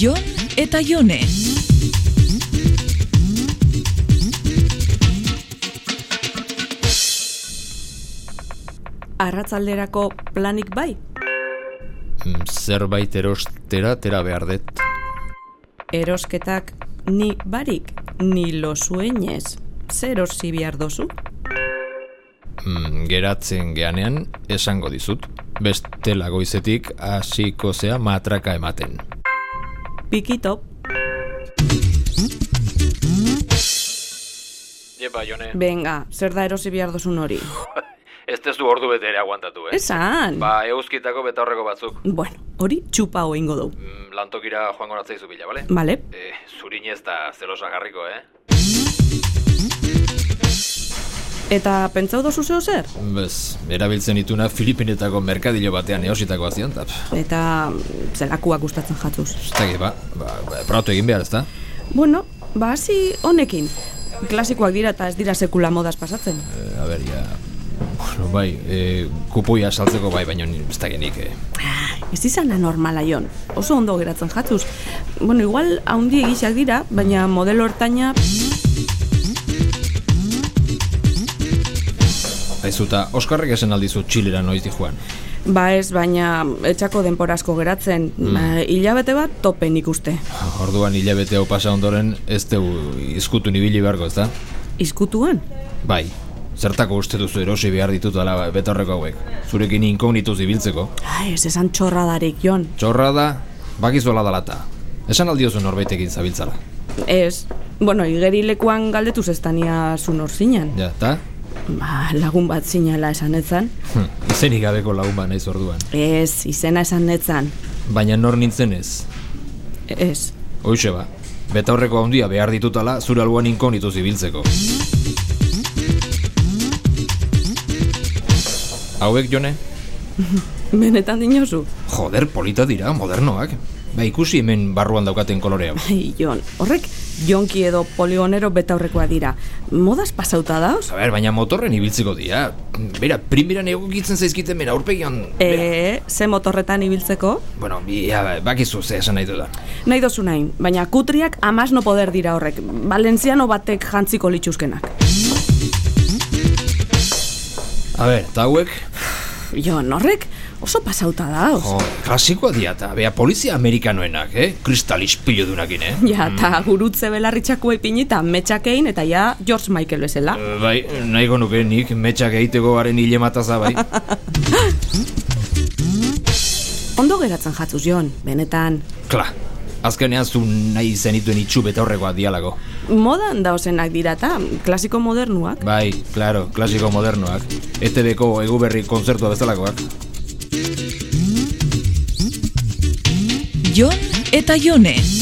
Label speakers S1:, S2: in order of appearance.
S1: Jon eta Jone.
S2: Arratzalderako planik bai?
S3: Mm, Zerbait erostera tera behar dut.
S2: Erosketak ni barik, ni lo sueñez. Zer osi behar dozu?
S3: Mm, Geratzen geanean esango dizut. Bestela goizetik hasiko zea matraka ematen.
S2: Pikito,
S3: Jepa, Jone,
S2: venga, zer da erosi behar dozun hori?
S3: ez tezu ordu bete ere aguantatu,
S2: Esan!
S3: Ba, euskitako betaurreko batzuk. Mm,
S2: Bueno, hori txupa hoingo du.
S3: Lantokira joango natzaizu bila, bale?
S2: Bale?
S3: E, zurinez da zelosagarriko, eh?
S2: Eta pentsau dozu zeo zer?
S3: Bez, erabiltzen ituna Filipinetako merkadillo batean eositako azion, eta pff,
S2: Eta mm, zelakoa gustatzen jatuz.
S3: ez dakit, ba, ba, ba, probatu egin behar, ezta?
S2: Bueno, ba hasi honekin. Klasikoak dira eta ez dira sekula modaz pasatzen.
S3: E, a ber, ja... Bueno, bai, e, kupuia saltzeko bai, baina ni- ez dakit nik, eh.
S2: Ez izan anormala jon, oso ondo geratzen jatuz. Bueno, igual haundi egisak dira, baina modelo hortaina...
S3: Aizu, eta Oskarrek esan aldizu txilera noiz di joan.
S2: Ba ez, baina etxako denpora asko geratzen. Mm. Hilabete bat topen ikuste.
S3: Orduan hilabete hau pasa ondoren ez dugu izkutu nibili beharko, ezta?
S2: Izkutuan?
S3: Bai, zertako uste duzu erosi behar ditut ala betorreko hauek. Zurekin inkognituz ibiltzeko.
S2: Ai, ez esan txorradarik, Jon.
S3: Txorra da, bakizuela dalata. Esan aldiozu norbaitekin zabiltzala.
S2: Ez, bueno, igerilekuan galdetu zestania zun hor zinan.
S3: Ja, eta?
S2: Ba, lagun bat zinala esan etzan.
S3: Hm, izenik gabeko lagun ba naiz orduan.
S2: Ez, izena esan etzan.
S3: Baina nor nintzen ez.
S2: Ez.
S3: Hoxe ba, betaurreko handia behar ditutala zure alboan inkognituz ibiltzeko. Hauek jone?
S2: Benetan dinozu?
S3: Joder, polita dira, modernoak. Ba ikusi hemen barruan daukaten kolore hau.
S2: Ai, Jon, horrek jonki edo poligonero betaurrekoa dira. Modaz pasauta dauz?
S3: A ber, baina motorren ibiltzeko dira. Bera, primeran egokitzen zaizkiten bera, aurpegian... bera.
S2: E, ze motorretan ibiltzeko?
S3: Bueno, bi- ja, bakizu ze esan nahi dudan.
S2: Nahi dozu nahi, baina kutriak amaz no poder dira horrek. Valentziano batek jantziko lituzkenak.
S3: A ber, eta hauek,
S2: Jon, horrek oso pasauta dauz.
S3: jo, klasikoa dira, eta bea, polizia amerikanoenak, eh? Kristal ispilu dunakin, eh?
S2: Ja, eta gurutze belarritxako ipinita metxakein eta ja George Michael bezala.
S3: Eh, Bai, nahiko nuke nik metxak egiteko garen hile mataza, bai.
S2: Ondo geratzen jatzuz, Jon, benetan.
S3: Kla, azkenean zu nahi zenituen itxu betaurrekoa dialako.
S2: Modan dauzenak dira eta klasiko modernuak.
S3: Bai, claro, klasiko modernoak. E ETB-ko eguberri kontzertua bezalakoak.
S1: Jon eta Jone.